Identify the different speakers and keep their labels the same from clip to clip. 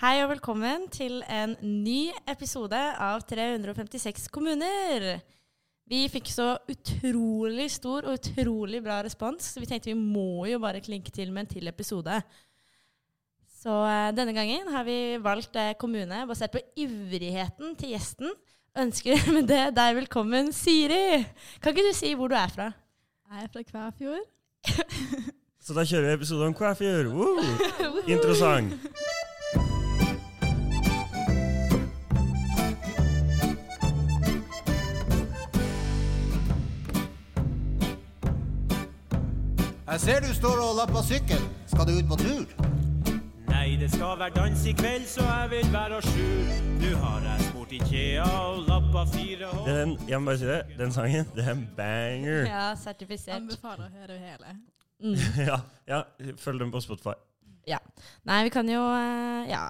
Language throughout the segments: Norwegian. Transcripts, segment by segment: Speaker 1: Hei og velkommen til en ny episode av 356 kommuner. Vi fikk så utrolig stor og utrolig bra respons, så vi tenkte vi må jo bare klinke til med en til episode. Så eh, denne gangen har vi valgt eh, kommune basert på ivrigheten til gjesten. Ønsker med det deg velkommen, Siri. Kan ikke du si hvor du er fra?
Speaker 2: Jeg er fra Kvæfjord.
Speaker 3: Så da kjører vi episode om Kvæfjord. Woo! Interessant.
Speaker 4: Jeg ser du står og lapper sykkel. Skal du ut på tur?
Speaker 5: Nei, det skal være dans i kveld, så jeg vil være à jour. Nå har jeg spurt Ikea og lappa fire hår.
Speaker 3: Den, jeg må bare si det, den sangen, det er en banger.
Speaker 1: Ja, sertifisert. Mm.
Speaker 2: Anbefaler å høre hele.
Speaker 3: Ja, ja følg den på Spotify.
Speaker 1: Ja. Nei, vi kan jo eh, ja,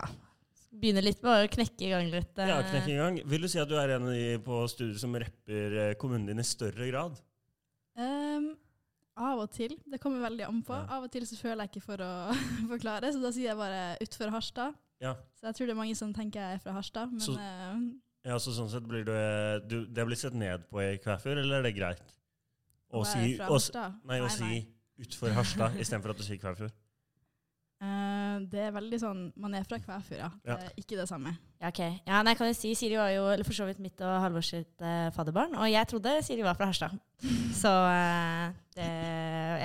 Speaker 1: begynne litt med å knekke i gang litt. eh,
Speaker 3: Ja, knekk en gang. Vil du si at du er en av de på studiet som rapper eh, kommunen din i større grad?
Speaker 2: Ehm, av og til. Det kommer veldig an på.
Speaker 3: Ja.
Speaker 2: Av og til så føler jeg ikke for å forklare, så da sier jeg bare utfor Harstad.
Speaker 3: Ja.
Speaker 2: Så jeg tror det er mange som tenker jeg er fra Harstad, men
Speaker 3: Så-
Speaker 2: ehm,
Speaker 3: Ja, så sånn sett blir du, eh, du Det blir sett ned på i Kvæfjord, eller er det greit? Å
Speaker 2: jeg er
Speaker 3: si,
Speaker 2: fra
Speaker 3: å, s-
Speaker 2: Harstad.
Speaker 3: nei, å si utfor Harstad istedenfor at du sier Kvæfjord.
Speaker 2: Ehm, det er veldig sånn Man er fra Kvæfjord, ja. Det er ikke det samme.
Speaker 1: Ja, ok. Ja, nei, kan jeg si, Siri var jo eller for så vidt mitt og Halvors sitt eh, fadderbarn, og jeg trodde Siri var fra Harstad. Så eh, det,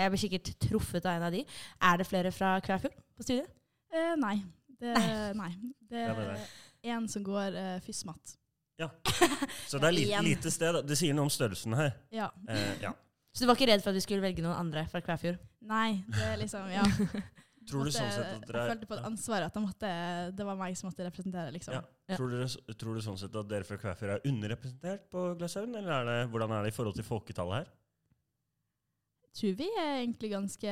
Speaker 1: jeg blir sikkert truffet av en av de. Er det flere fra Kvæfjord på studiet?
Speaker 2: Eh, nei. Det, nei. Det
Speaker 3: Ja, det er
Speaker 2: er
Speaker 3: det.
Speaker 2: en som går uh, fyssmatt.
Speaker 3: Så det er lite,
Speaker 1: Igjen.
Speaker 3: lite sted. da. Det sier noe om størrelsen her.
Speaker 2: Ja.
Speaker 3: Eh, ja.
Speaker 1: Så du var ikke redd for at du skulle velge noen andre fra Kvæfjord?
Speaker 2: Nei, det er liksom Ja.
Speaker 3: Tror du
Speaker 2: Måtte-
Speaker 3: sånn sett at dere
Speaker 2: Jeg
Speaker 3: er
Speaker 2: følte på et
Speaker 3: ja.
Speaker 2: ansvar at jeg måtte, det var meg som måtte representere, liksom.
Speaker 3: Ja.
Speaker 1: Ja.
Speaker 3: Tror, dere, tror du sånn sett at dere fra Kvæfjord er underrepresentert på Gløshaugen, eller er det, hvordan er det i forhold til folketallet her?
Speaker 2: Tror vi er egentlig ganske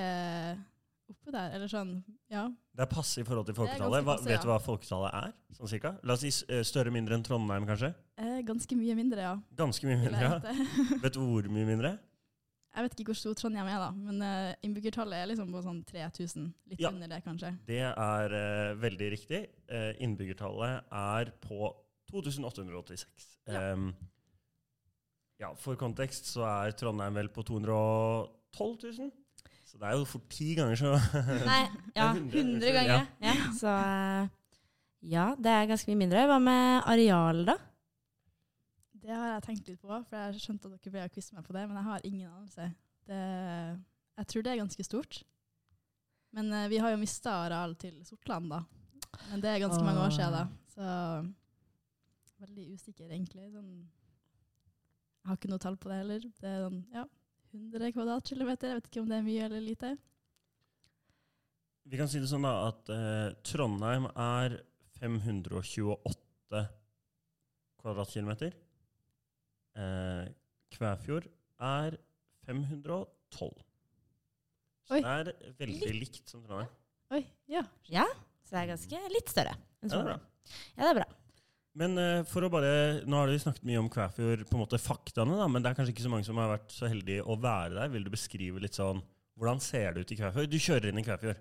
Speaker 2: oppe der, eller sånn, ja.
Speaker 3: Det er passe i forhold til
Speaker 2: er ganske
Speaker 3: folketallet. Hva,
Speaker 2: passe, ja.
Speaker 3: vet du hva folketallet er, sånn cirka? La oss si s- eh, større mindre enn Trondheim, kanskje?
Speaker 2: Eh, ganske mye mindre, ja.
Speaker 3: Ganske mye
Speaker 2: vil
Speaker 3: mindre,
Speaker 2: jeg
Speaker 3: ja.
Speaker 2: gjette.
Speaker 3: Vet du hvor mye mindre?
Speaker 2: Jeg vet ikke hvor stor Trondheim er, da, men eh, innbyggertallet er liksom på sånn 3000. Litt
Speaker 3: Ja.
Speaker 2: under det, kanskje.
Speaker 3: Det er eh, veldig riktig. Eh, innbyggertallet er på 2886.
Speaker 2: Ja.
Speaker 3: Em, Ehm, ja, for kontekst så er Trondheim vel på 212 000. Så det er jo fort ti ganger så
Speaker 1: Nei, ja,
Speaker 3: Det er 100,
Speaker 1: 100
Speaker 3: unnskyld,
Speaker 1: ganger. Ja. Så eh, ja, det er ganske mye mindre. Hva med areal, da?
Speaker 2: Det har jeg tenkt litt på, for jeg skjønte at dere ble å quize meg på det, men jeg har ingen anelse. Det, jeg tror det er ganske stort. Men eh, vi har jo mista areal til Sortland, da. Men det er ganske mange år siden, da. Så veldig usikker, egentlig. Sånn, jeg har ikke noe tall på det heller. Det er sånn, ja, 100 kvadratkilometer. Jeg vet ikke om det er mye eller lite.
Speaker 3: Vi kan si det sånn da, at eh, Trondheim er 528 kvadratkilometer. Eh, Kvæfjord er 512. Så
Speaker 2: Oi.
Speaker 3: det er veldig likt som Trondheim.
Speaker 2: Oi, ja.
Speaker 1: Så det er ganske litt større. enn
Speaker 3: Ja, det er bra.
Speaker 1: Trondheim. Ja, det er bra.
Speaker 3: Men eh, for å bare, nå har vi snakket mye om Kvæfjord, på en måte faktaene, da, men det er kanskje ikke så mange som har vært så heldige å være der. Vil du beskrive litt sånn, hvordan ser det ut i Kvæfjord? Du kjører inn i Kvæfjord.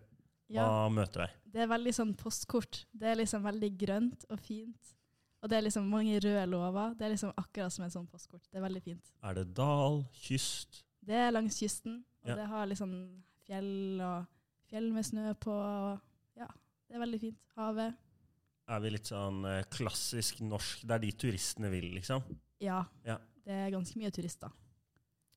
Speaker 2: ja.
Speaker 3: Hva møter deg?
Speaker 2: Det er veldig sånn postkort. Det er liksom veldig grønt og fint. Og det er liksom mange røde låver. Det er liksom akkurat som en sånn postkort. Det er veldig fint.
Speaker 3: Er det dal, kyst?
Speaker 2: Det er langs kysten, og
Speaker 3: Ja.
Speaker 2: det har liksom fjell og fjell med snø på. Og ja, det er veldig fint. Havet.
Speaker 3: er vi litt sånn eh, klassisk norsk. Det er de turistene vil, liksom.
Speaker 2: Ja.
Speaker 3: Ja.
Speaker 2: Det er ganske mye turister.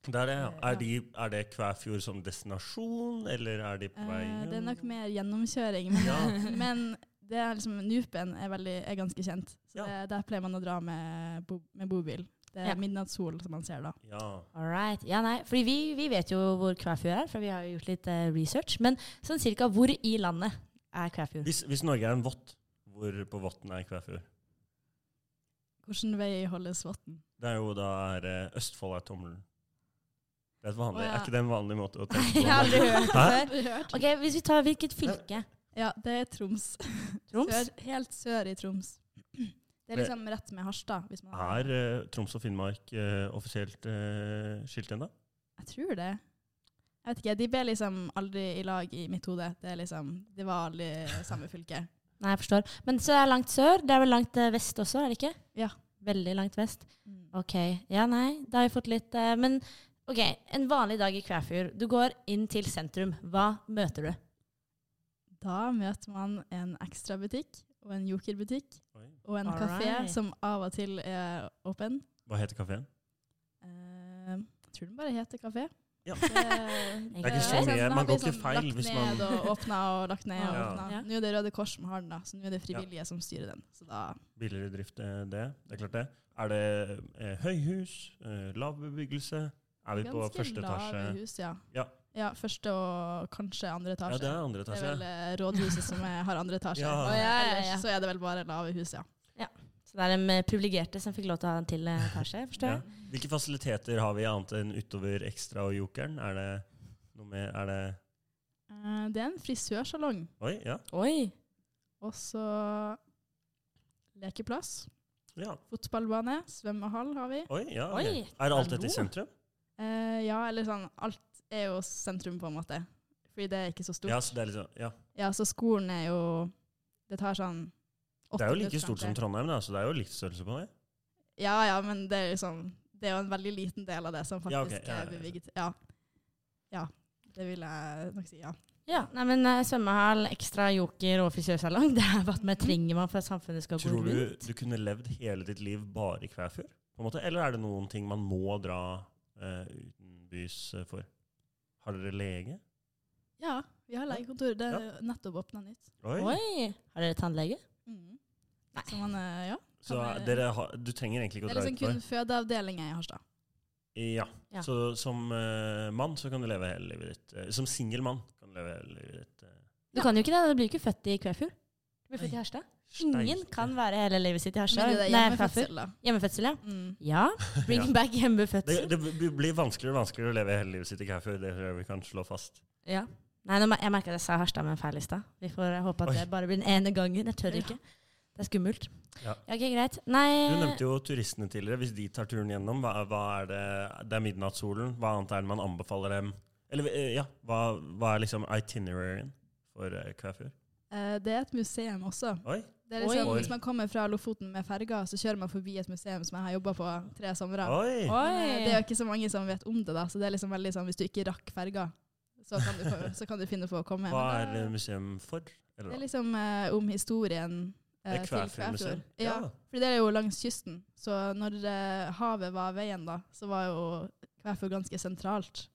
Speaker 3: Det er, det, ja.
Speaker 2: Ja.
Speaker 3: er, de, er det Kvæfjord som destinasjon, eller er de på vei
Speaker 2: Eh, det er
Speaker 3: hjem?
Speaker 2: nok mer gjennomkjøring, men,
Speaker 3: Ja.
Speaker 2: men det er liksom, Nupen er, veldig, er ganske kjent. Så
Speaker 3: Ja.
Speaker 2: det, der pleier man å dra med, bo, med bobil. Det er
Speaker 1: Ja.
Speaker 2: midnattssol som man ser da.
Speaker 3: Ja.
Speaker 1: Alright. Ja, nei, fordi vi, vi vet jo hvor Kvæfjord er, for vi har jo gjort litt eh, research. Men sånn cirka hvor i landet er Kvæfjord?
Speaker 3: Hvis, hvis Norge er en vått, hvor på votten er Kvæfjord?
Speaker 2: Hvilken vei holdes Vatn?
Speaker 3: Det er jo da er, eh, Østfold er tommelen. Det er, et vanlig,
Speaker 2: Å, ja.
Speaker 3: er ikke det en vanlig måte å tenke på?
Speaker 1: Jeg har aldri hørt det
Speaker 3: Hæ?
Speaker 1: før. Ok, Hvis vi tar hvilket fylke?
Speaker 2: Ja, det er Troms.
Speaker 1: Troms?
Speaker 2: Sør, helt sør i Troms. Det er
Speaker 3: Det-
Speaker 2: liksom rett med Harstad. Hvis man
Speaker 3: Er eh, Troms og Finnmark eh, offisielt eh, skilt ennå?
Speaker 2: Jeg tror det. Jeg vet ikke, De ble liksom aldri i lag i mitt hode. Det er liksom, det var aldri samme fylke.
Speaker 1: Nei, jeg forstår. Men så er det langt sør. Det er vel langt eh, vest også, er det ikke?
Speaker 2: Ja.
Speaker 1: Veldig langt vest. Ok. Ja, nei, da har vi fått litt eh, Men ok, en vanlig dag i Kvæfjord. Du går inn til sentrum. Hva møter du?
Speaker 2: Da møter man en ekstrabutikk og en jokerbutikk
Speaker 3: Oi.
Speaker 2: og en kafé
Speaker 1: Alright.
Speaker 2: som av og til er åpen.
Speaker 3: Hva heter kafeen?
Speaker 2: Eh, jeg tror den bare heter kafé. eh,
Speaker 3: Ja.
Speaker 2: Det,
Speaker 1: Det er ikke så
Speaker 2: sånn-
Speaker 3: mye.
Speaker 2: den har
Speaker 3: Man går
Speaker 2: blitt
Speaker 3: ikke feil
Speaker 2: lagt
Speaker 3: hvis man-
Speaker 2: ned og åpna og lagt ned og
Speaker 3: Ja.
Speaker 2: åpna.
Speaker 1: Ja.
Speaker 2: Nå er det Røde Kors som har den, da, så nå er det frivillige som styrer den. Så da
Speaker 3: Billigere drift, eh, det. Det er klart det. Er det eh, høyhus? Eh, lav bebyggelse? Er vi på
Speaker 2: Ganske
Speaker 3: første etasje?
Speaker 2: lave hus, ja.
Speaker 3: Ja.
Speaker 2: Ja, Første og kanskje andre
Speaker 3: Ja,
Speaker 2: etasje.
Speaker 3: det er andre
Speaker 2: Det er
Speaker 3: etasje.
Speaker 2: vel eh, rådhuset som er, har andre etasje.
Speaker 3: Ja.
Speaker 2: Og
Speaker 1: Ja, ja, ja.
Speaker 2: ellers så er det vel bare lave hus, ja.
Speaker 1: Så det er de eh, privilegerte som fikk lov til å ha en til eh, etasje, forstår
Speaker 3: Ja.
Speaker 1: jeg?
Speaker 3: Hvilke fasiliteter har vi annet enn utover Ekstra og Jokeren? Er det noe mer Er det
Speaker 2: Eh, Det er en frisørsalong.
Speaker 3: Oi, ja.
Speaker 1: Oi!
Speaker 2: Og så lekeplass.
Speaker 3: ja.
Speaker 2: Fotballbane. Svømmehall har vi.
Speaker 3: Oi, ja. ok.
Speaker 1: Oi,
Speaker 3: Er alt dette
Speaker 1: hallo.
Speaker 3: i sentrum?
Speaker 2: Eh, ja, eller sånn Alt er jo sentrum, på en måte. Fordi det er ikke så stort.
Speaker 3: Ja,
Speaker 2: Ja,
Speaker 3: så det er liksom Ja.
Speaker 2: så skolen er jo Det tar sånn
Speaker 3: Det er jo like
Speaker 2: minutter,
Speaker 3: stort som
Speaker 2: kanskje.
Speaker 3: Trondheim, da, så det er jo likt størrelse på det.
Speaker 2: Ja, ja, men det er jo sånn Det er jo en veldig liten del av det som
Speaker 3: Ja, ok,
Speaker 2: faktisk
Speaker 3: ja, ja,
Speaker 2: er
Speaker 3: ja.
Speaker 2: bevilget. Ja. ja. Det vil jeg nok si, ja.
Speaker 1: Ja, nei, men eh, Svømmehall, ekstra joker og frisørsalong, det er hva man trenger man for at samfunnet skal gå
Speaker 3: Tror du
Speaker 1: rundt.
Speaker 3: du kunne levd hele ditt liv bare i Kvæfjord? På en måte? Eller er det noen ting man må dra eh, utenbys eh, for? Har dere lege?
Speaker 2: Ja, vi har legekontor. Det er nettopp åpna nytt.
Speaker 3: Oi.
Speaker 1: Oi! Har dere tannlege?
Speaker 2: Mm.
Speaker 1: Nei.
Speaker 2: Så man, eh, ja.
Speaker 3: Så
Speaker 2: Kan jeg-
Speaker 3: dere har, du trenger egentlig
Speaker 2: Det
Speaker 3: ikke å
Speaker 2: er
Speaker 3: dra
Speaker 2: liksom kun
Speaker 3: utenfor?
Speaker 2: fødeavdelinga i Harstad.
Speaker 3: Ja.
Speaker 1: Ja.
Speaker 3: Så som eh, mann så kan du leve hele livet ditt. eh, som singel mann kan du leve hele livet ditt. eh,
Speaker 1: Du kan jo ikke det, du blir jo ikke født i Kvæfjord. Du blir født i Harstad. Ingen
Speaker 3: steike.
Speaker 1: kan være hele livet sitt i
Speaker 2: Men
Speaker 1: Harstad.
Speaker 2: det
Speaker 1: Nei,
Speaker 2: er
Speaker 1: Kvæfjord.
Speaker 2: hjemmefødsel, da.
Speaker 1: Hjemmefødsel, ja.
Speaker 2: Mm.
Speaker 1: Ja, bring
Speaker 3: Ja.
Speaker 1: back
Speaker 3: det,
Speaker 1: hjemmefødsel.
Speaker 3: det b- blir vanskeligere og vanskeligere å leve hele livet sitt i Kvæfjord. Det tror jeg vi kan slå fast.
Speaker 1: Ja. Nei, nå, mer- jeg merker at jeg sa Harstad med en feil i stad. Vi får håpe at
Speaker 3: Oi.
Speaker 1: det bare blir den ene gangen. Jeg tør ikke. Det er skummelt.
Speaker 3: Ja.
Speaker 1: ok, greit.
Speaker 2: Eh.
Speaker 3: Du
Speaker 1: Nei,
Speaker 3: nevnte jo turistene tidligere. Hvis de tar turen gjennom, hva, hva er det Det er midnattssolen. Hva annet er det man anbefaler dem? Eller eh, ja, hva, hva er liksom itineraryen for eh, Kvæfjord?
Speaker 2: Eh, det er et museum også.
Speaker 3: Oi!
Speaker 2: Det er liksom,
Speaker 1: Oi.
Speaker 2: hvis man kommer fra Lofoten med ferga, så kjører man forbi et museum som jeg har jobba på tre somre.
Speaker 3: Oi!
Speaker 2: Men, eh, Det er
Speaker 1: oi!
Speaker 2: jo ikke så mange som vet om det, da, så det er liksom veldig sånn hvis du ikke rakk ferga, så kan du, få- så kan du finne på å komme.
Speaker 3: Hva
Speaker 2: Men
Speaker 3: er eh, museum for?
Speaker 2: det
Speaker 3: Eller
Speaker 2: er
Speaker 3: hva?
Speaker 2: liksom eh, om historien eh,
Speaker 3: Det er
Speaker 2: til
Speaker 3: Kvæfjordmuseum.
Speaker 2: Kvæfjord. Ja,
Speaker 3: Ja.
Speaker 2: for det er jo langs kysten. Så når eh, havet var veien, da, så var jo Kvæfjord ganske sentralt.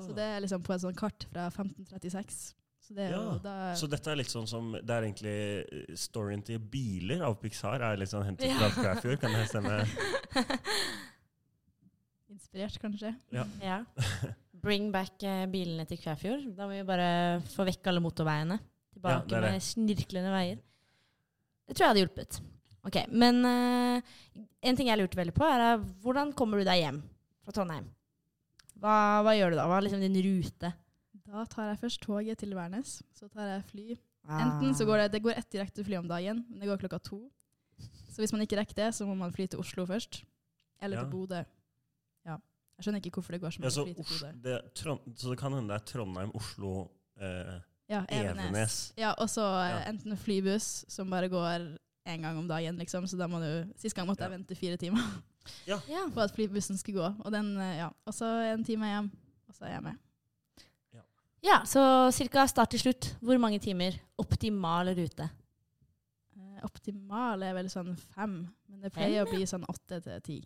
Speaker 2: Så det
Speaker 3: Ja.
Speaker 2: er liksom på et sånt kart fra 1536. Så det er jo
Speaker 3: Ja.
Speaker 2: da
Speaker 3: Så dette er litt sånn som Det er egentlig eh, storyen til biler av Pixar er litt sånn hentet
Speaker 1: Ja.
Speaker 3: fra Kvæfjord, kan jeg stemme?
Speaker 2: inspirert, kanskje.
Speaker 1: ja. Bring back eh, bilene til Kvæfjord. Da må vi bare få vekk alle motorveiene.
Speaker 3: Ja,
Speaker 1: Tilbake
Speaker 3: det er det.
Speaker 1: med snirklende veier. Det tror jeg hadde hjulpet. Ok, Men eh, en ting jeg lurte veldig på, er eh, hvordan kommer du deg hjem fra Trondheim? Hva, hva gjør du da? Hva er liksom din rute?
Speaker 2: Da tar jeg først toget til Værnes. Så tar jeg fly. Enten så går det, det går ett direktefly om dagen, men det går klokka to. Så hvis man ikke rekker det, så må man fly til Oslo først. Eller
Speaker 3: Ja.
Speaker 2: til Bodø. Ja. Jeg skjønner ikke hvorfor det går
Speaker 3: Ja,
Speaker 2: så mange
Speaker 3: så,
Speaker 2: fly til
Speaker 3: Os-
Speaker 2: Bodø.
Speaker 3: det, er Trond, så det kan hende det er Trondheim, Oslo, eh,
Speaker 2: Ja, Evenes.
Speaker 3: Evenes.
Speaker 2: Ja, og så eh,
Speaker 3: Ja.
Speaker 2: enten flybuss, som bare går én gang om dagen, liksom. Så da må du Sist gang måtte jeg
Speaker 3: Ja.
Speaker 2: vente fire timer
Speaker 1: ja.
Speaker 2: på at flybussen skulle gå. Og den, eh, ja. Og så en time hjem, og så er jeg med.
Speaker 1: Ja, så cirka start til slutt. Hvor mange timer? Optimal rute.
Speaker 2: Eh, Optimal er vel sånn fem, men det
Speaker 1: Fem,
Speaker 2: pleier å bli sånn åtte til ti.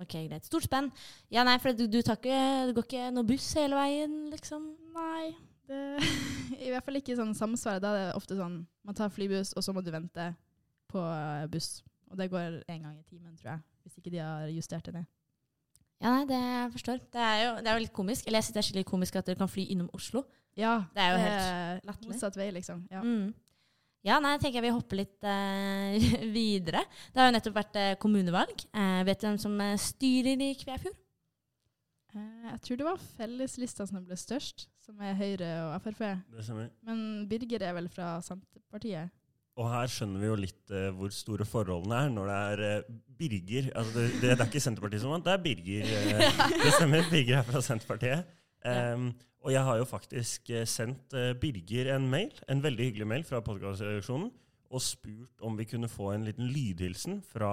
Speaker 1: Ok, greit. Stort spenn. Ja, nei, for du, du tar ikke, det går ikke noe buss hele veien, liksom?
Speaker 2: Nei, det I hvert fall ikke sånn samsvaret. Da er det ofte sånn man tar flybuss, og så må du vente på eh, buss. Og det går én gang i timen, tror jeg. Hvis ikke de har justert det ned.
Speaker 1: Ja, nei, det jeg forstår. Det er jo, det er jo litt komisk. Eller jeg synes det er skikkelig komisk at dere kan fly innom Oslo.
Speaker 2: Ja,
Speaker 1: Det er jo
Speaker 2: helt
Speaker 1: latterlig.
Speaker 2: Eh, Motsatt vei, liksom. Ja.
Speaker 1: Mm. Ja, nei, jeg tenker jeg vi hopper litt eh, videre. Det har jo nettopp vært eh, kommunevalg. Eh, vet du hvem som eh, styrer i Kvæfjord?
Speaker 2: Eh, Jeg tror det var felleslista som ble størst, som er Høyre og Frp.
Speaker 3: det stemmer.
Speaker 2: Men Birger er vel fra Senterpartiet?
Speaker 3: Og her skjønner vi jo litt eh, hvor store forholdene er når det er eh, Birger altså det, det, det er ikke Senterpartiet som vant, det er Birger. eh, det stemmer, Birger er fra Senterpartiet. Em, og jeg har jo faktisk eh, sendt eh, Birger en mail, en veldig hyggelig mail fra podkastredaksjonen, og spurt om vi kunne få en liten lydhilsen fra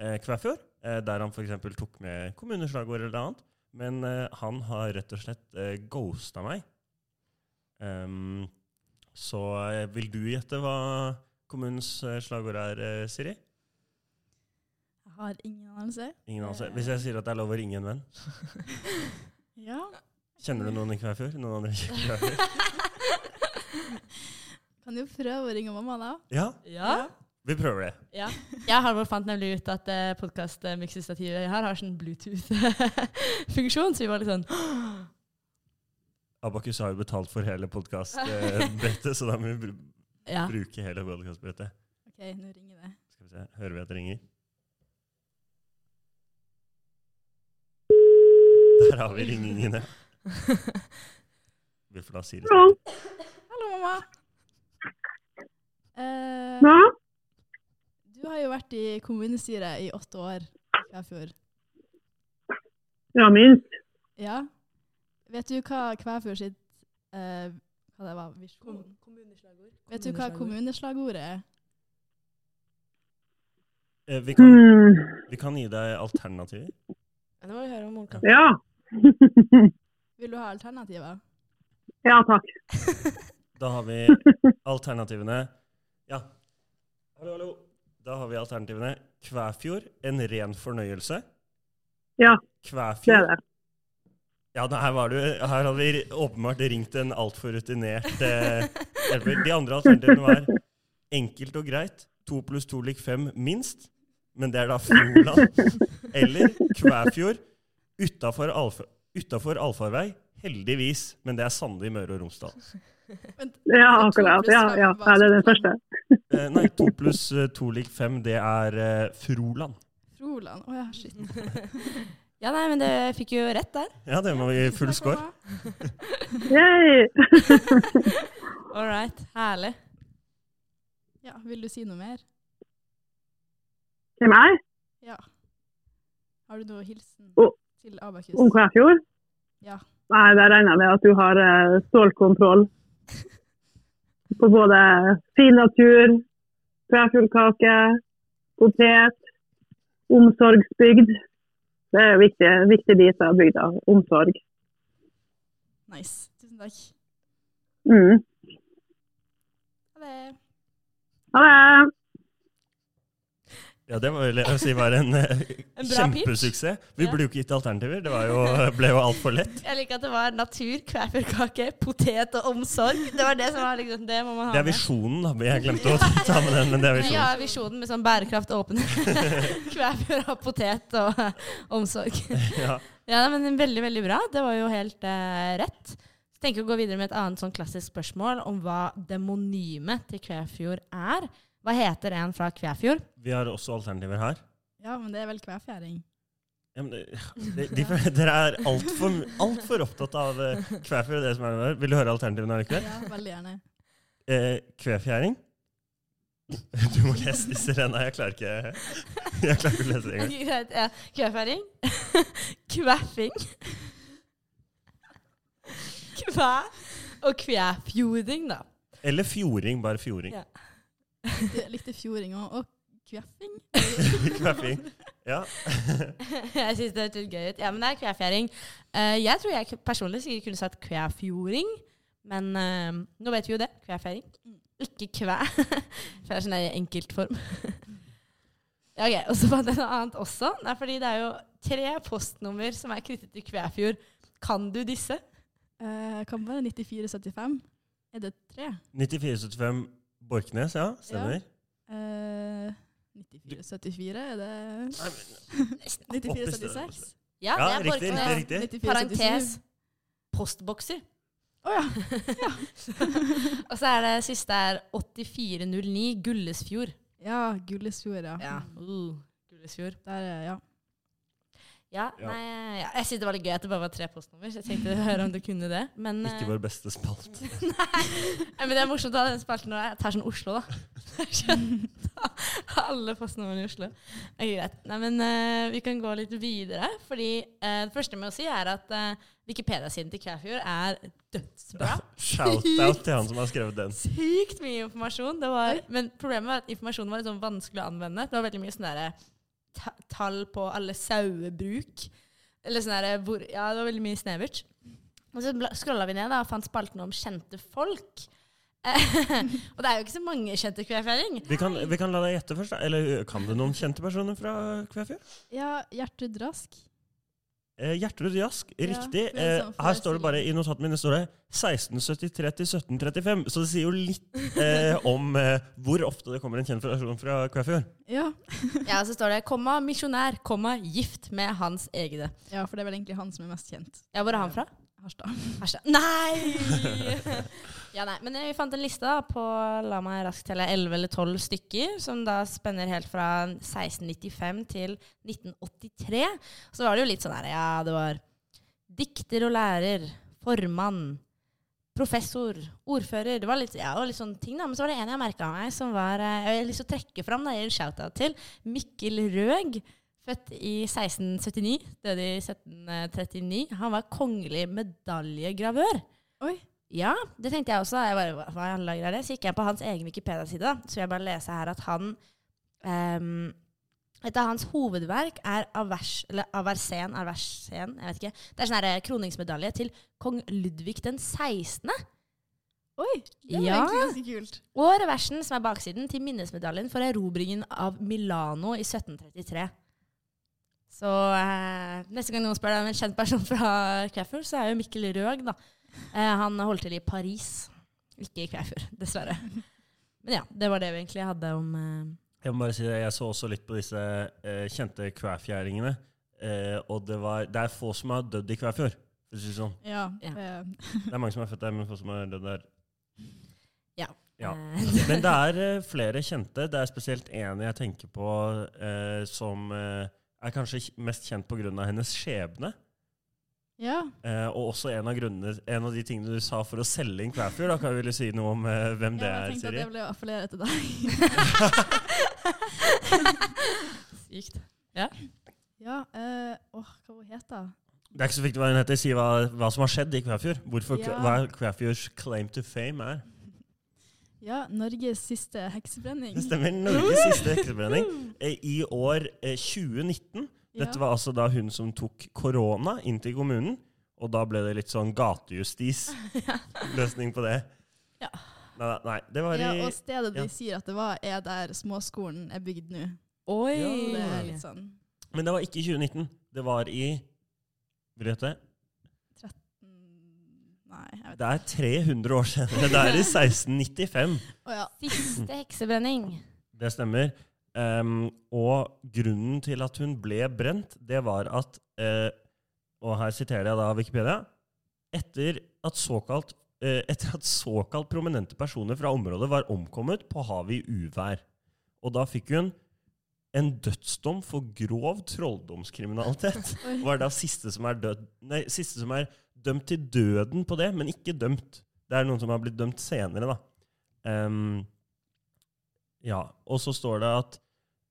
Speaker 3: eh, Kvæfjord, eh, der han f.eks. tok med kommuneslagord eller annet. Men eh, han har rett og slett eh, ghosta meg. Ehm, så eh, vil du gjette hva kommunens eh, slagord er, eh, Siri?
Speaker 2: Jeg har ingen anelse.
Speaker 3: Ingen anelse. Hvis jeg sier at det er lov å ringe en venn,
Speaker 2: Ja.
Speaker 3: kjenner du noen i Kvæfjord? Noen andre i Kvæfjord?
Speaker 2: Kan jo prøve å ringe mamma, da.
Speaker 3: Ja,
Speaker 1: Ja.
Speaker 3: vi prøver det.
Speaker 1: ja. Jeg og Halvor fant nemlig ut at uh, podkastmiksestativet her har sånn Bluetooth-funksjon, så vi var litt sånn
Speaker 3: Abakus har jo betalt for hele podkastbrettet, så da må vi br-
Speaker 1: Ja.
Speaker 3: bruke hele podkastbrettet.
Speaker 2: OK, nå ringer det.
Speaker 3: Skal vi se, hører vi at det ringer? Der har vi ringingene. Vi får la Siri snakke.
Speaker 2: Hallo, mamma. Eh,
Speaker 6: Ja,
Speaker 2: du har jo vært i kommunestyret i åtte år i Kvæfjord.
Speaker 6: ja minst.
Speaker 2: Ja. Vet du hva Kvæfjord sitt eh, Hva det var? Visjon?
Speaker 1: Kommuneslagord.
Speaker 2: Vet du hva kommuneslagordet er?
Speaker 3: Eh, Vi kan,
Speaker 6: Mm,
Speaker 3: vi kan gi deg alternativer.
Speaker 1: Nå må vi høre om moren kan.
Speaker 6: ja.
Speaker 2: Vil du ha alternativer?
Speaker 6: ja, takk.
Speaker 3: Da har vi alternativene Ja. Hallo, hallo. Da har vi alternativene Kvæfjord, en ren fornøyelse.
Speaker 6: Ja, det er
Speaker 3: Kvæfjord,
Speaker 6: det.
Speaker 3: Ja, det her, var du, her hadde vi åpenbart ringt en altfor rutinert eh, hjelper. De andre alternativene var enkelt og greit. To pluss to lik fem, minst. Men det er da Froland. Eller Kvæfjord. Utafor allf utenfor allfarvei. Heldigvis. Men det er Sande i Møre og Romsdal.
Speaker 6: Ja, akkurat. Ja, ja. Nei, det er det første.
Speaker 3: Eh, nei, to pluss eh, to lik fem, det er eh, Froland.
Speaker 2: Froland. Å ja, shit.
Speaker 1: Ja, nei, men det fikk jo rett der.
Speaker 3: Ja, det var i full
Speaker 2: Takk,
Speaker 3: score.
Speaker 2: mamma.
Speaker 6: Yay!
Speaker 1: All right. Herlig.
Speaker 2: Ja, vil du si noe mer?
Speaker 6: Hvem er jeg?
Speaker 2: Ja. Har du noe hilsen
Speaker 6: Å.
Speaker 2: til Abakus?
Speaker 6: Om Kvæfjord?
Speaker 2: Ja.
Speaker 6: Nei, da regner jeg med at du har eh, stålkontroll på både fin natur, Kvæfjordkake, potet, omsorgsbygd. Det er jo viktig, viktig bit av bygda. Omsorg.
Speaker 2: Nice. Tusen takk.
Speaker 6: Mm.
Speaker 2: Ha det.
Speaker 6: Ha det!
Speaker 3: Ja, det var, jeg si, var en, eh,
Speaker 1: En bra pitch.
Speaker 3: kjempesuksess. Vi
Speaker 1: Ja.
Speaker 3: burde jo ikke gitt alternativer. Det var jo, ble jo altfor lett.
Speaker 1: Jeg liker at det var natur, kvæfjordkake, potet og omsorg. Det var det som var liksom Det må man ha
Speaker 3: Det er
Speaker 1: med.
Speaker 3: visjonen, da. Jeg glemte å ta med den, men det er
Speaker 1: Nei, Ja,
Speaker 3: visjonen.
Speaker 1: visjonen med sånn bærekraft og åpenhet. Kvæfjord og potet og eh, omsorg.
Speaker 3: Ja.
Speaker 1: Ja, nei, men veldig, veldig bra. Det var jo helt eh, rett. Så tenker jeg å gå videre med et annet sånn klassisk spørsmål om hva demonymet til Kvæfjord er. Hva heter en fra Kvæfjord?
Speaker 3: Vi har også alternativer her.
Speaker 2: Ja, men det er vel kvæfjæring.
Speaker 3: Ja, men det, de, de, dere er altfor alt for opptatt av eh, kvæfjord og det som er der. Vil du høre alternativene allikevel?
Speaker 2: Ja, veldig gjerne.
Speaker 3: Eh, kvefjæring. Du må lese disse renna. Jeg klarer ikke Jeg klarer ikke å lese det engang.
Speaker 1: Ok, greit. Ja. Kvæfjæring. Kvæfing. Kvæ og kvæfjording, da.
Speaker 3: Eller fjording, bare fjording.
Speaker 1: Ja.
Speaker 2: Du likte fjording og, og kvæfing.
Speaker 3: Kvæfing. Ja.
Speaker 1: jeg syns det hørtes litt gøy ut. Ja, men det er kvæfjæring. Eh, jeg tror jeg personlig sikkert kunne sagt kvæfjording, men eh, nå vet vi jo det. Kvæfjæring. Ikke kvæ. For det er sånn der enkeltform. Ja, ok, Og så fant jeg noe annet også. Nei, fordi det er jo tre postnummer som er knyttet til Kvæfjord. Kan du disse?
Speaker 2: Eh, kan være 9475. Er det tre?
Speaker 3: 9475 Borknes, ja. Stemmer.
Speaker 2: Eh, 9474, er det
Speaker 3: Nei, men-
Speaker 2: 9476?
Speaker 1: Ja,
Speaker 3: Ja,
Speaker 1: det er
Speaker 3: riktig,
Speaker 1: Borknes.
Speaker 3: riktig.
Speaker 1: Parentes. Postbokser.
Speaker 2: Å ja.
Speaker 1: Og så er det siste er 8409 Gullesfjord.
Speaker 2: Ja, Gullesfjord, ja.
Speaker 1: Uh, Gullesfjord.
Speaker 2: Der, er- ja.
Speaker 1: Ja,
Speaker 3: Ja.
Speaker 1: Nei, ja. Jeg syntes det var litt gøy at det bare var tre postnummer, så jeg tenkte å høre om du kunne det. Men, eh,
Speaker 3: Ikke vår beste spalt.
Speaker 1: nei, men det er morsomt å ha den spalten når jeg tar sånn Oslo, da. Skjønt. Da alle postnumrene i Oslo. Ok, greit. Nei, men eh, vi kan gå litt videre. Fordi eh, det første med å si er at eh, Wikipedia-siden til Kvæfjord er dødsbra.
Speaker 3: Shout-out til han som har skrevet den.
Speaker 1: Sykt mye informasjon. Det var, men problemet var at informasjonen var litt sånn vanskelig å anvende. Det var veldig mye sånne der, ta tall på alle sauebruk. Eller sånn der, hvor, ja, det var veldig mye snevert. Og så scrolla vi ned da, og fant spalten om kjente folk. og det er jo ikke så mange kjente kvæfjæring.
Speaker 3: Vi kan, vi kan la deg gjette først. da. Eller kan du noen kjente personer fra Kvæfjord?
Speaker 2: Ja, Gjertrud Rask.
Speaker 3: Eh, Gjertrud Jask, riktig.
Speaker 2: men sånn
Speaker 3: Eh, her står
Speaker 2: forestilling.
Speaker 3: det bare i notatene mine står det 1673 til 1735. Så det sier jo litt eh, om eh, hvor ofte det kommer en kjent person fra Kvæfjord.
Speaker 2: Ja.
Speaker 1: Ja, så står det 'komma misjonær, komma gift med hans egne'.
Speaker 2: ja, for det er vel egentlig han som er mest kjent.
Speaker 1: Ja, hvor er han fra?
Speaker 2: Harstad.
Speaker 1: Harstad. Nei! ja, nei. Men vi fant en liste da på la meg raskt telle 11 eller 12 stykker, som da spenner helt fra 1695 til 1983. Så var det jo litt sånn her Ja, det var dikter og lærer, formann, professor, ordfører Det var litt, ja, og litt sånne ting, da. Men så var det en jeg merka meg, som var eh, Jeg har lyst til å trekke fram, da, jeg gir en shout-out til Mikkel Røeg. Født i 1679, døde i 1739. Han var kongelig medaljegravør.
Speaker 2: Oi.
Speaker 1: Ja, det tenkte jeg også. Jeg bare, hva- hva i alle dager er det? Så gikk jeg på hans egen Wikipedia-side, da. så jeg bare lese her at han ehm, Et av hans hovedverk er avers, eller aversen, aversen, jeg vet ikke. Det er sånn her, eh, kroningsmedalje til kong Ludvig den 16.
Speaker 2: Oi, det var
Speaker 1: Ja.
Speaker 2: egentlig ganske kult.
Speaker 1: Og reversen, som er baksiden, til minnesmedaljen for erobringen av Milano i 1733. Så eh, neste gang noen spør deg om en kjent person fra Kvæfjord, så er jo Mikkel Røeg, da. Eh, han holdt til i Paris, ikke i Kvæfjord, dessverre. Men ja, det var det vi egentlig hadde om eh,
Speaker 3: Jeg må bare si det, jeg så også litt på disse eh, kjente kvæfjæringene. Eh, og det, var, det er få som har dødd i Kvæfjord. for å si det Sånn.
Speaker 2: Ja. Eh,
Speaker 1: Ja.
Speaker 2: det-
Speaker 3: Det er mange som er født der, men få som har dødd der.
Speaker 1: Ja.
Speaker 3: Ja.
Speaker 1: eh,
Speaker 3: Men det er eh, flere kjente. Det er spesielt én jeg tenker på eh, som eh, er kanskje kj- mest kjent pga. hennes skjebne.
Speaker 2: ja.
Speaker 3: Eh, og også en av, grunnene, en av de tingene du sa for å selge inn Kvæfjord. Da kan jeg ville si noe om eh, hvem
Speaker 2: Ja,
Speaker 3: det
Speaker 2: men
Speaker 3: er,
Speaker 2: Jeg tenkte at
Speaker 3: Siri.
Speaker 2: jeg ble å appellere til deg.
Speaker 1: Sykt.
Speaker 2: Ja, eh, åh, hva hun heter hun?
Speaker 3: Det er ikke så viktig hva hun heter. Si hva, hva som har skjedd i Kvæfjord. Hvorfor,
Speaker 2: Ja.
Speaker 3: Hva Kvæfjords claim to fame er.
Speaker 2: Ja, Norges siste heksebrenning.
Speaker 3: Det stemmer. Norges siste heksebrenning. Eh, I år eh, 2019. Dette
Speaker 2: Ja.
Speaker 3: var altså da hun som tok korona inn til kommunen. Og da ble det litt sånn gatejustis-løsning på det.
Speaker 1: Ja.
Speaker 3: Nei, nei, nei, det var i
Speaker 2: ja, og stedet
Speaker 3: ja.
Speaker 2: de sier at det var, er der småskolen er bygd nå.
Speaker 1: Oi!
Speaker 3: Ja,
Speaker 2: Så Det er
Speaker 1: litt
Speaker 2: litt
Speaker 1: sånn.
Speaker 2: sånn
Speaker 3: Men det var ikke i 2019. Det var i Vil du gjette?
Speaker 2: mm, Nei, jeg vet ikke.
Speaker 3: Det er 300 år senere. Det er i 1695.
Speaker 2: Å ja.
Speaker 1: Siste heksebrenning.
Speaker 3: Det stemmer. Ehm, og grunnen til at hun ble brent, det var at eh, Og her siterer jeg da Wikipedia. Etter at såkalt eh, etter at såkalt prominente personer fra området var omkommet på havet i uvær. Og da fikk hun en dødsdom for grov trolldomskriminalitet.
Speaker 2: Oi.
Speaker 3: Var da siste som, er død, nei, siste som er dømt til døden på det, men ikke dømt. Det er noen som har blitt dømt senere, da. Ehm, ja, og så står det at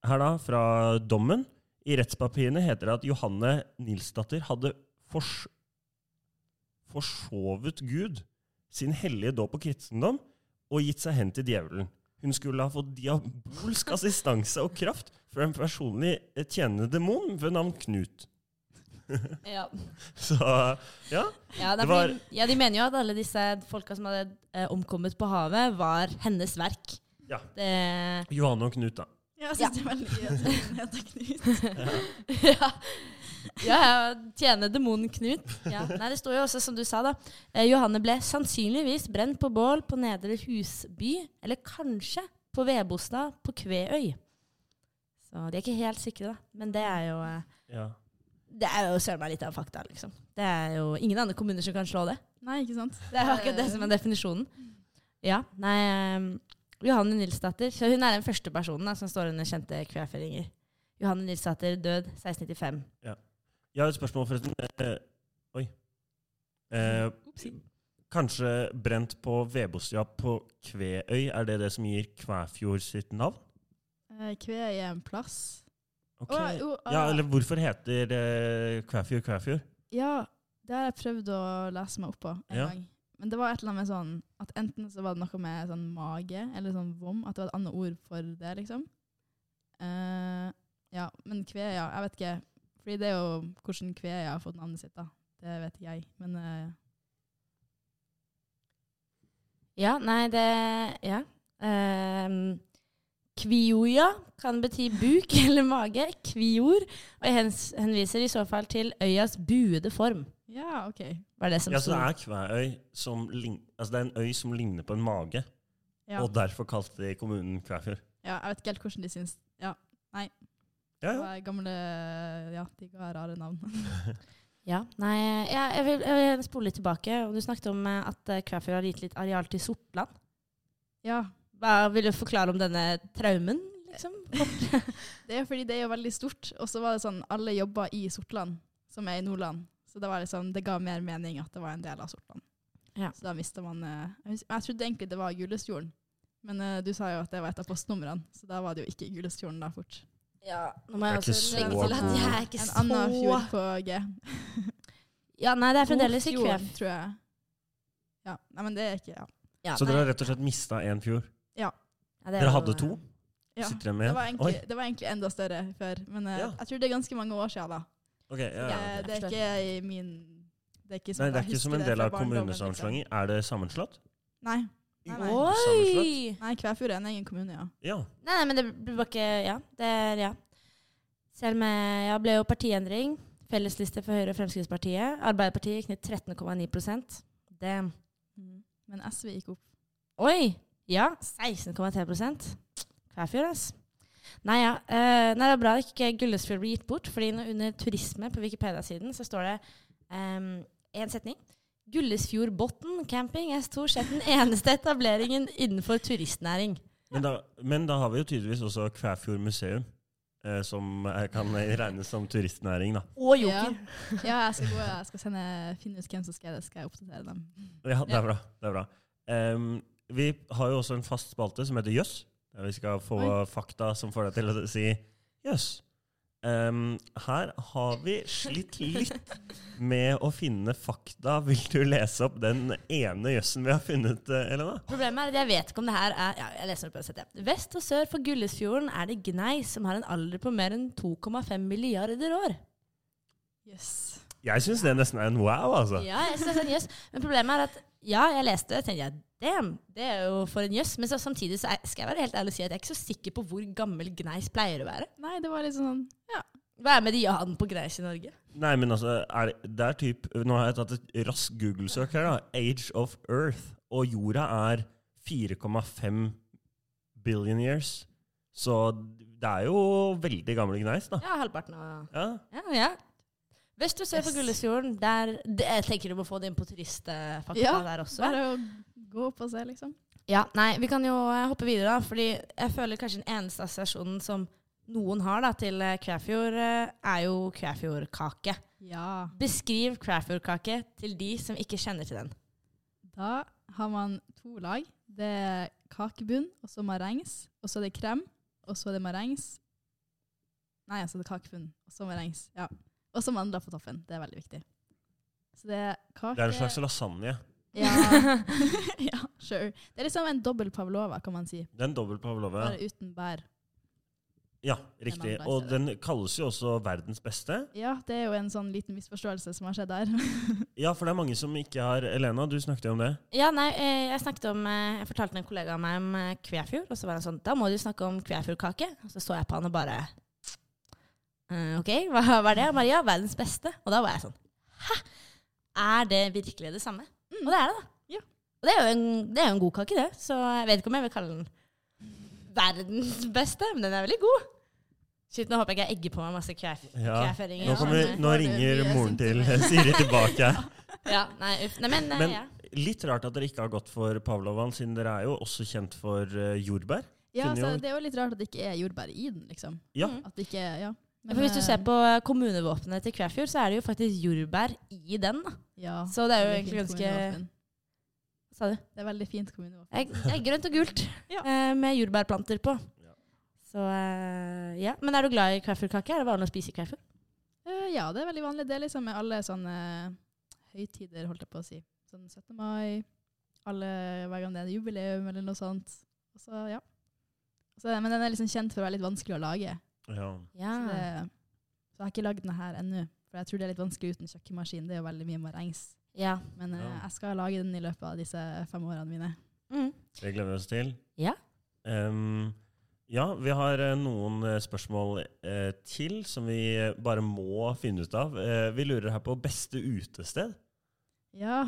Speaker 3: her da, fra dommen, i rettspapirene heter det at Johanne Nilsdatter hadde fors forsovet Gud, sin hellige dåp og kristendom, og gitt seg hen til djevelen. Hun skulle ha fått diabolsk assistanse og kraft fra en personlig eh, tjenende demon ved navn Knut.
Speaker 1: Ja.
Speaker 3: Så ja,
Speaker 1: Ja, det
Speaker 3: Det
Speaker 1: er
Speaker 3: var-
Speaker 1: fordi, ja, de mener jo at alle disse folka som hadde eh, omkommet på havet, var hennes verk.
Speaker 3: Ja.
Speaker 1: Det,
Speaker 3: Johanne og Knut, da.
Speaker 2: Ja, Jeg
Speaker 1: Ja.
Speaker 2: syns det er veldig gøy at hun heter Knut.
Speaker 1: ja. ja, ja, tjene demonen Knut. Ja. Nei, det står jo også, som du sa, da. Eh, Johanne ble sannsynligvis brent på bål på Nedre Husby, eller kanskje på Vebostad på Kveøy. Så de er ikke helt sikre, da. Men det er jo eh,
Speaker 3: Ja.
Speaker 1: det er jo søren meg litt av fakta, liksom. Det er jo ingen andre kommuner som kan slå det.
Speaker 2: Nei, ikke sant?
Speaker 1: Det er jo akkurat det som er definisjonen. Ja, nei ehm, Johanne Nilsdatter. Så hun er den første personen da, som står under kjente queerføringer. Johanne Nilsdatter, død 1695.
Speaker 3: Jeg har et spørsmål, forresten. Eh, oi. Eh, kanskje brent på Vebostia på Kveøy, er det det som gir Kvæfjord sitt navn?
Speaker 2: Eh, Eh, Kve er en plass.
Speaker 3: Ok.
Speaker 2: Å, jo, ah,
Speaker 3: Ja, eller hvorfor heter det Kvæfjord Kvæfjord?
Speaker 2: ja, det har jeg prøvd å lese meg opp på en
Speaker 3: Ja.
Speaker 2: gang. Men det var et eller annet med sånn at enten så var det noe med sånn mage eller sånn vom, at det var et annet ord for det, liksom. Eh, ja, men kve, ja. Jeg vet ikke. Fordi det er jo hvordan kve har fått navnet sitt, da. Det vet ikke jeg. Men eh,
Speaker 1: Ja, nei, det Ja. Ehm, kvioja kan bety buk eller mage. Kvior. Og jeg hens- henviser i så fall til øyas buede form.
Speaker 2: ja, OK.
Speaker 1: Var det som
Speaker 3: Ja, så det
Speaker 1: sto.
Speaker 3: er Kvæøy som lign- altså det er en øy som ligner på en mage,
Speaker 2: Ja.
Speaker 3: og derfor kalte de kommunen Kvæfjord.
Speaker 2: Ja, jeg vet ikke helt hvordan de syns Ja,
Speaker 3: Ja,
Speaker 2: det
Speaker 3: ja.
Speaker 2: var gamle Ja, de ga rare navn.
Speaker 1: Ja, nei, ja, jeg, vil, jeg vil spole litt tilbake. og Du snakket om eh, at eh, Kvæfjord har gitt litt areal til Sortland.
Speaker 2: ja.
Speaker 1: Hva vil du forklare om denne traumen, liksom?
Speaker 2: Det er fordi det er jo veldig stort. Og så var det sånn, alle jobba i Sortland, som er i Nordland. Så det, var liksom, det ga mer mening at det var en del av Sortland.
Speaker 1: Ja.
Speaker 2: Så da mista man eh, Jeg hus- jeg trodde egentlig det var Gulestjolen, men eh, du sa jo at det var et av postnumrene, så da var det jo ikke Gulestjolen da fort.
Speaker 1: Ja, nå må jeg
Speaker 3: Det er
Speaker 1: også
Speaker 3: ikke
Speaker 1: legge
Speaker 3: så
Speaker 1: til at jeg er ikke
Speaker 2: En
Speaker 1: så
Speaker 2: annen fjord på G.
Speaker 1: Ja, nei, det er fremdeles i
Speaker 2: Ofjorden,
Speaker 1: Kvæf.
Speaker 2: tror jeg. Ja, Nei, men det er ikke ja.
Speaker 1: Ja,
Speaker 3: Så dere
Speaker 1: nei.
Speaker 3: har rett og slett mista én fjord?
Speaker 1: Ja, det er
Speaker 3: Dere
Speaker 1: jo-
Speaker 3: hadde to?
Speaker 2: ja.
Speaker 3: Sitter dere med
Speaker 2: Det var,
Speaker 3: én?
Speaker 2: egentlig,
Speaker 3: Oi.
Speaker 2: det var egentlig enda større før, men eh,
Speaker 3: Ja.
Speaker 2: jeg tror det er ganske mange år siden da.
Speaker 3: ok, ja, ja.
Speaker 2: Eh,
Speaker 1: jeg
Speaker 2: det er
Speaker 1: forstår.
Speaker 2: ikke i min Det er ikke, som
Speaker 3: Nei, det
Speaker 2: jeg
Speaker 3: er ikke som
Speaker 2: husker
Speaker 3: en
Speaker 2: det
Speaker 3: del av
Speaker 2: fra barndommen, liksom.
Speaker 3: kommunesammenslåinger. Er det sammenslått?
Speaker 2: Nei. Nei, nei.
Speaker 3: Sammenslått?
Speaker 1: Oi!
Speaker 2: Nei, Kvæfjord er en egen kommune, ja.
Speaker 3: Ja.
Speaker 1: Nei, nei, men det blir bare ikke Ja. Det er, ja. Selv med Ja, ble jo partiendring. Fellesliste for Høyre og Fremskrittspartiet. Arbeiderpartiet gikk ned 13,9 Det
Speaker 2: Men SV gikk opp.
Speaker 1: Oi! Ja, 16,3 Kvæfjord, ass. Nei, ja. eh, nei, det er bra at ikke Gullesfjord blir gitt bort, fordi nå under turisme på Wikipedia-siden så står det én setning. Gullesfjordbotn camping er stort sett den eneste etableringen innenfor turistnæring.
Speaker 3: Men da, men da har vi jo tydeligvis også Kvæfjord museum, eh, som eh, kan regnes som turistnæring. da.
Speaker 1: Og joker.
Speaker 2: Ja, jeg skal, gå, jeg skal sende, finne ut hvem som skal det, skal jeg oppdatere dem.
Speaker 3: Ja, det er bra. det er bra. Em, vi har jo også en fast spalte som heter Jøss, der vi skal få
Speaker 2: Oi.
Speaker 3: fakta som får deg til å si jøss. Em, her har vi slitt litt med å finne fakta. Vil du lese opp den ene jøssen vi har funnet, eh, Elena?
Speaker 1: Problemet er at jeg vet ikke om det her er ja, jeg leser det på sett, ja. Vest og sør for Gullesfjorden er det gneis som har en alder på mer enn 2,5 milliarder år.
Speaker 2: Yes.
Speaker 3: Jeg syns det nesten er en wow, altså.
Speaker 1: Ja, jeg synes det er en jøss. Men problemet er at ja, jeg leste det, og tenkte jeg, damn, det er jo for en jøss. Men så, samtidig så er, skal jeg være helt ærlig og si at jeg er ikke så sikker på hvor gammel gneis pleier å være.
Speaker 2: Nei, det var liksom sånn Ja.
Speaker 1: Hva er medianen på gneis i Norge?
Speaker 3: Nei, men altså, er, det- det er typ Nå har jeg tatt et raskt Google-søk her, da. Age of Earth. Og jorda er 4,5 billion years. Så det er jo veldig gamle gneis, da.
Speaker 1: Ja, halvparten av
Speaker 3: Ja.
Speaker 1: Ja, ja. Vest og sør for
Speaker 2: Yes.
Speaker 1: Gullesfjorden, der det, Jeg tenker du må få det inn på turistfakta
Speaker 2: Ja,
Speaker 1: der også.
Speaker 2: Bare å gå opp og se, liksom.
Speaker 1: Ja, nei, vi kan jo eh, hoppe videre da, fordi jeg føler kanskje den eneste assosiasjonen som noen har da, til eh, Kvæfjord, eh, er jo Kvæfjordkake.
Speaker 2: Ja.
Speaker 1: Beskriv Kvæfjordkake til de som ikke kjenner til den.
Speaker 2: Da har man to lag. Det er kakebunn, og så marengs, og så er det krem, og så er det marengs. Nei, altså det er kakebunn, og så marengs. Ja. Og så mandler på toppen. Det er veldig viktig. Så det er kake
Speaker 3: Det er en slags lasagne.
Speaker 2: Ja. ja, sure. Det er liksom en dobbel pavlova, kan man si.
Speaker 3: Det er en dobbel pavlova.
Speaker 2: Bare uten bær.
Speaker 3: Ja, riktig.
Speaker 2: mandler i
Speaker 3: Og
Speaker 2: stedet.
Speaker 3: den kalles jo også verdens beste.
Speaker 2: Ja, det er jo en sånn liten misforståelse som har skjedd der.
Speaker 3: Ja, for det er mange som ikke har Elena, du snakket jo om det.
Speaker 1: Ja, nei, eh, jeg snakket om, eh, jeg fortalte en kollega av meg om eh, Kvæfjord, og så var han sånn, da må du snakke om Kvæfjordkake. Og så så jeg på han og bare, «Eh, ok, hva hva er det? Maria, verdens beste. Og da var jeg sånn, hæ? Er det virkelig det samme? Og det er det da.
Speaker 2: Ja.
Speaker 1: Og det er, jo en, det er jo en god kake det, så jeg vet ikke om jeg vil kalle den verdens beste, men den er veldig god. Shit, nå håper jeg ikke jeg egger på meg masse kvæf
Speaker 3: Ja.
Speaker 1: kvæfjøringer.
Speaker 3: Nå, kommer,
Speaker 1: Sånn,
Speaker 3: nå
Speaker 2: Får du
Speaker 3: ringer
Speaker 2: mye
Speaker 3: moren til
Speaker 2: symptomer?
Speaker 3: Siri tilbake her.
Speaker 1: eh, Ja, nei, uff. Nei, men, eh,
Speaker 3: Men-
Speaker 1: ja.
Speaker 3: Litt rart at dere ikke har gått for Pavlovan, siden dere er jo også kjent for eh, jordbær.
Speaker 2: Ja,
Speaker 3: Kunne
Speaker 2: så
Speaker 3: jo-
Speaker 2: Det er jo litt rart at det ikke er jordbær i den, liksom.
Speaker 3: Ja.
Speaker 1: Mm.
Speaker 2: At det ikke er, ja.
Speaker 1: Ja, For hvis du ser på eh, kommunevåpenet til Kvæfjord, så er det jo faktisk jordbær i den. da.
Speaker 2: ja,
Speaker 1: Så Ah, det er jo
Speaker 2: veldig
Speaker 1: egentlig
Speaker 2: fint
Speaker 1: ganske
Speaker 2: kommunevåpen.
Speaker 1: Sa du?
Speaker 2: Det er veldig fint kommunevåpen.
Speaker 1: Det er grønt og gult
Speaker 2: Ja.
Speaker 1: eh, med jordbærplanter på.
Speaker 3: Ja.
Speaker 1: Så eh, ja. Men er du glad i kveifurkake? Er det vanlig å spise kveifur?
Speaker 2: Eh, ja, det er veldig vanlig. Det er liksom med alle sånne eh, høytider, holdt jeg på å si. Sånn 17. mai, alle, hver gang det er jubileum eller noe sånt. Og så, ja. Så, men den er liksom kjent for å være litt vanskelig å lage.
Speaker 3: Ja.
Speaker 1: Ja.
Speaker 2: Så, det, så jeg har ikke lagd den her ennå. For jeg tror det er litt vanskelig uten kjøkkenmaskin. Det er jo veldig mye marengs.
Speaker 1: ja.
Speaker 2: Men eh,
Speaker 3: Ja.
Speaker 2: jeg skal lage den i løpet av disse fem årene mine.
Speaker 1: Mm.
Speaker 3: Det gleder vi oss til.
Speaker 1: Ja.
Speaker 3: Em, ja, vi har eh, noen eh, spørsmål eh, til som vi eh, bare må finne ut av. Eh, vi lurer her på beste utested.
Speaker 2: Ja.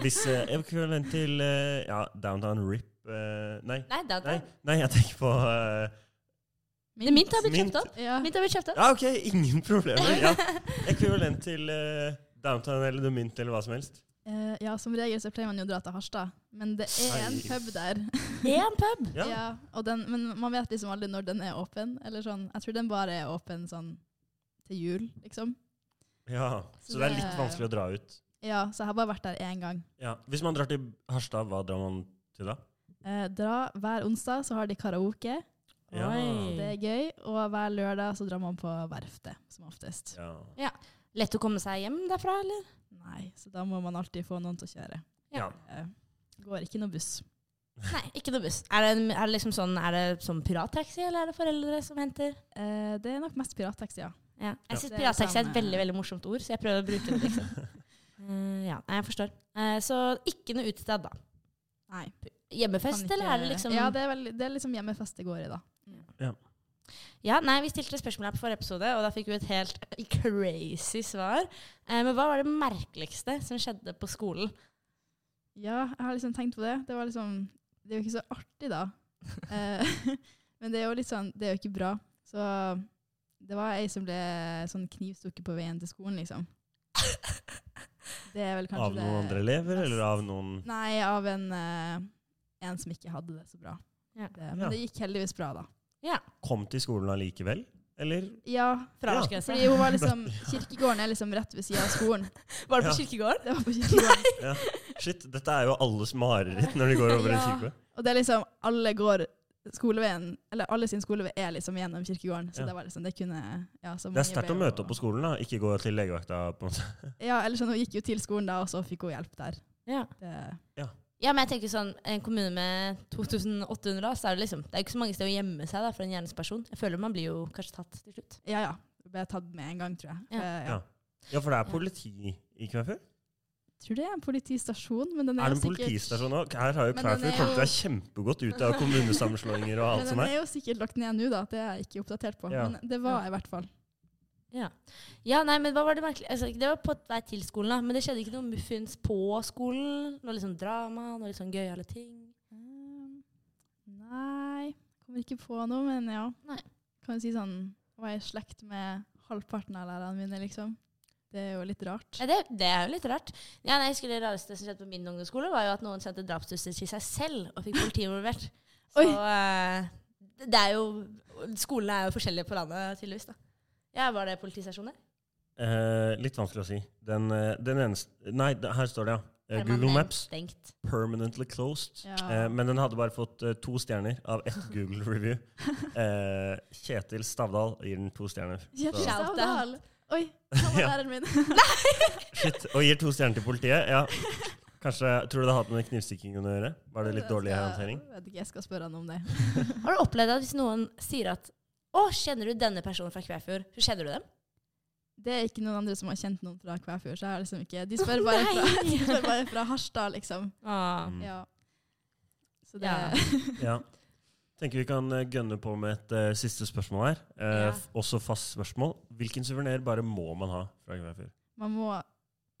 Speaker 3: Hvis eh, ekvivalent til eh, ja, Downtown Rip eh, Nei.
Speaker 1: Nei, det er
Speaker 3: Nei, nei, jeg tenker på eh,
Speaker 1: Men mint har blitt
Speaker 3: Mint.
Speaker 1: kjøpt opp.
Speaker 2: Ja.
Speaker 1: Mint har blitt kjøpt opp.
Speaker 3: Ja, ok, ingen problemer. Ja. Ekvivalent til eh, Downtown eller The Mynt eller hva som helst.
Speaker 2: Eh, ja, som regel så pleier man jo å dra til Harstad. Men det er en
Speaker 3: Nei.
Speaker 2: pub der.
Speaker 1: En pub.
Speaker 3: Ja.
Speaker 2: Ja, og den, men man vet liksom aldri når den er åpen. Eller sånn. Jeg tror den bare er åpen sånn til jul, liksom.
Speaker 3: ja. Så det er litt vanskelig å dra ut.
Speaker 2: Ja, så jeg har bare vært der én gang.
Speaker 3: Ja. Hvis man drar til Harstad, hva drar man til da?
Speaker 2: Eh, dra hver onsdag, så har de karaoke.
Speaker 3: Ja.
Speaker 2: Det
Speaker 3: Mm.
Speaker 1: Oi.
Speaker 2: er gøy. Og hver lørdag så drar man på Verftet, som oftest.
Speaker 3: Ja.
Speaker 1: Lett å komme seg hjem derfra, eller?
Speaker 2: Nei, så da må man alltid få noen til å kjøre.
Speaker 3: Ja.
Speaker 2: Eh, går ikke noe buss.
Speaker 1: Nei, ikke noe buss. Er det, en- er det liksom sånn, er det sånn pirattaxi, eller er det foreldre som henter?
Speaker 2: Eh, det er nok mest pirattaxi, ja.
Speaker 1: Ja.
Speaker 3: Ja.
Speaker 1: Jeg synes
Speaker 2: Det er
Speaker 1: pirattaxi er et
Speaker 2: samme-
Speaker 1: veldig veldig morsomt ord, så jeg prøver å bruke det. liksom. Eh, ja, nei, jeg forstår. Eh, så ikke noe utested, da.
Speaker 2: Nei.
Speaker 1: Hjemmefest, eller er det liksom
Speaker 2: Ja, det er, veldig, det er liksom hjemmefest det går i, da.
Speaker 1: Ja, nei, Vi stilte spørsmål her på forrige episode, og da fikk vi et helt crazy svar. Eh, men hva var det merkeligste som skjedde på skolen?
Speaker 2: Ja, jeg har liksom tenkt på det. Det, var liksom, det er jo ikke så artig, da. Eh, men det er jo litt sånn, det er jo ikke bra. Så det var ei som ble sånn knivstukket på veien til skolen, liksom. Det er vel kanskje
Speaker 3: Av noen
Speaker 2: det
Speaker 3: andre elever, eller av noen
Speaker 2: Nei, av en, eh, en som ikke hadde det så bra.
Speaker 1: Ja.
Speaker 2: Det, men
Speaker 3: Ja.
Speaker 2: det gikk heldigvis bra, da.
Speaker 3: Kom til skolen allikevel? Eller?
Speaker 2: Ja,
Speaker 1: Fraværsgrense?
Speaker 2: fordi hun var liksom, Kirkegården er liksom rett ved sida av skolen.
Speaker 1: Var det på
Speaker 3: Ja.
Speaker 1: kirkegården?
Speaker 2: Det var på kirkegården.
Speaker 3: Shit, dette er jo alles mareritt når de går over en
Speaker 2: Ja.
Speaker 3: kirkegård.
Speaker 2: Og det er liksom, alle går skoleveien, eller alle sin skolevei er liksom gjennom kirkegården. Så
Speaker 3: Ja.
Speaker 2: det var liksom, det kunne ja, så
Speaker 3: Det
Speaker 2: mange
Speaker 3: er sterkt
Speaker 2: ble
Speaker 3: å
Speaker 2: jo-
Speaker 3: møte opp på skolen, da. Ikke gå til legevakta. på en måte.
Speaker 2: Ja, eller sånn, hun gikk jo til skolen da, og så fikk hun hjelp der.
Speaker 1: Ja.
Speaker 2: Det,
Speaker 1: ja, men jeg tenker sånn, En kommune med 2800, da, så er det liksom, det er jo ikke så mange steder å gjemme seg da, for en gjerningsperson. Jeg føler man blir jo kanskje tatt til slutt.
Speaker 2: ja, ja. Hun ble tatt med en gang, tror jeg.
Speaker 1: Ja.
Speaker 2: Eh,
Speaker 3: Ja. Ja, for det er politi i Kvæfjord?
Speaker 2: Tror det er en politistasjon, men den er,
Speaker 3: Er det en
Speaker 2: jo sikkert-
Speaker 3: politistasjon òg? Her har jo
Speaker 2: Men den
Speaker 3: Kvæfjord
Speaker 2: er
Speaker 3: kommet
Speaker 2: jo-
Speaker 3: seg kjempegodt ut av kommunesammenslåinger og
Speaker 2: Men
Speaker 3: alt
Speaker 2: den
Speaker 3: som er.
Speaker 2: er jo sikkert lagt ned nå, da. Det er jeg ikke oppdatert på.
Speaker 3: Ja.
Speaker 2: Men det var i hvert fall.
Speaker 1: Ja. ja, nei, men hva var Det merkelig? Altså, det var på vei til skolen, da, men det skjedde ikke noe muffins på skolen? Noe liksom drama, noe litt sånn gøyale ting?
Speaker 2: Um, Nei, kommer ikke på noe, men ja.
Speaker 1: Nei.
Speaker 2: Kan jo si sånn, var jeg i slekt med halvparten av lærerne mine, liksom. Det er jo litt rart.
Speaker 1: Ja, det, det er jo litt rart. Ja, nei, jeg husker Det rareste som skjedde på min ungdomsskole, var jo at noen sendte drapstrusler til seg selv og fikk politiet involvert. Så
Speaker 2: Oi.
Speaker 1: eh, det- det er jo Skolene er jo forskjellige på landet, tydeligvis. da. Ja, Var det politistasjon der?
Speaker 3: Eh, litt vanskelig å si. Den, eh, den eneste Nei, det- her står det, ja. Eh, Google
Speaker 1: Permanent
Speaker 3: Maps
Speaker 1: Stengt.
Speaker 3: permanently closed.
Speaker 2: Ja.
Speaker 3: Eh, men den hadde bare fått eh, to stjerner av ett Google review. Eh, Kjetil Stavdal gir den to stjerner.
Speaker 2: Kjetil
Speaker 3: Så-
Speaker 1: Shout out.
Speaker 2: Stavdal! Oi, han var
Speaker 3: Ja.
Speaker 2: læreren min.
Speaker 3: Shit, og gir to stjerner til politiet. Ja. Kanskje, Tror du det har hatt med knivstikkingen å gjøre? Var det litt dårlig
Speaker 2: Jeg skal-
Speaker 3: håndtering?
Speaker 2: Vet ikke, jeg skal spørre han om det.
Speaker 1: Har du opplevd at hvis noen sier at å, kjenner du denne personen fra Kvæfjord? Så kjenner du dem?
Speaker 2: Det er ikke noen andre som har kjent noen fra Kvæfjord, så jeg har liksom ikke De spør bare fra, de spør bare fra Harstad, liksom.
Speaker 1: Ah.
Speaker 3: Mm.
Speaker 2: Ja. Så det
Speaker 1: Ja.
Speaker 3: Ja. Tenker vi kan eh, gønne på med et eh, siste spørsmål her. Eh,
Speaker 1: Ja.
Speaker 3: f- Også fast spørsmål. Hvilken suvenir bare må man ha fra Kvæfjord?
Speaker 2: Man må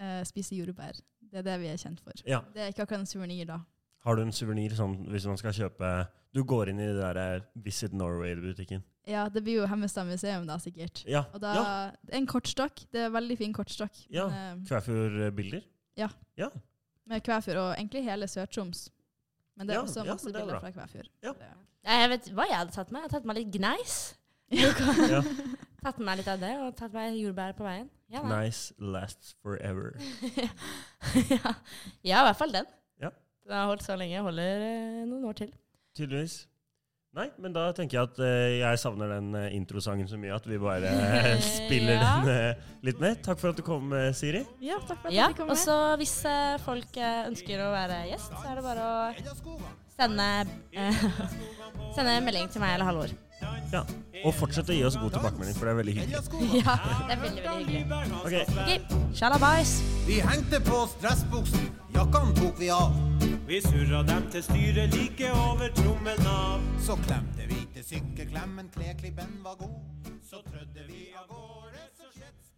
Speaker 2: eh, spise jordbær. Det er det vi er kjent for.
Speaker 3: Ja.
Speaker 2: Det er ikke akkurat en suvenir, da.
Speaker 3: Har du en suvenir sånn hvis man skal kjøpe Du går inn i det der eh, Visit Norway-butikken.
Speaker 2: Ja, det blir jo Hemmestad museum, da, sikkert.
Speaker 3: Ja.
Speaker 2: Og da,
Speaker 3: ja.
Speaker 2: det er En kortstokk. Det er en veldig fin kortstokk.
Speaker 3: Ja.
Speaker 2: Men, eh,
Speaker 3: Kvæfjord-bilder.
Speaker 2: med Kvæfjord, og egentlig hele Sør-Troms. Men det er
Speaker 3: Ja,
Speaker 2: også
Speaker 3: ja,
Speaker 2: masse
Speaker 3: men det er
Speaker 2: bilder
Speaker 3: bra.
Speaker 2: fra Kvæfjord.
Speaker 3: Ja.
Speaker 1: Nei, Jeg vet hva jeg hadde tatt med. Jeg hadde tatt med litt gneis.
Speaker 3: Ja.
Speaker 1: Tatt med meg litt av det, og tatt med jordbær på veien. Ja, nei.
Speaker 3: Nice lasts forever.
Speaker 1: ja. ja, i hvert fall den.
Speaker 3: Ja.
Speaker 1: Den har holdt så lenge. Holder eh, noen år til.
Speaker 3: Tydeligvis. Nei, men da tenker jeg at eh, jeg savner den eh, introsangen så mye at vi bare
Speaker 1: Ja.
Speaker 3: spiller den eh, litt mer. Takk for at du kom, eh, Siri.
Speaker 2: Ja, takk for at
Speaker 1: Ja,
Speaker 2: jeg fikk komme.
Speaker 1: og så hvis eh, folk eh, ønsker å være gjest, så er det bare å sende, eh, sende en melding til meg eller Halvor.
Speaker 3: Ja. Og fortsett å gi oss god tilbakemelding, for det er veldig hyggelig.
Speaker 1: Ja, det er veldig, veldig hyggelig.
Speaker 3: Ok.
Speaker 1: Ok, shalabais!
Speaker 4: Vi hengte på oss dressbuksen, jakkene tok vi av.
Speaker 5: Vi surra dem til styret like over trommelen av.
Speaker 4: Så klemte vi til sykkelklemmen, kleklippen var god. Så trødde vi av gårde, så skjedde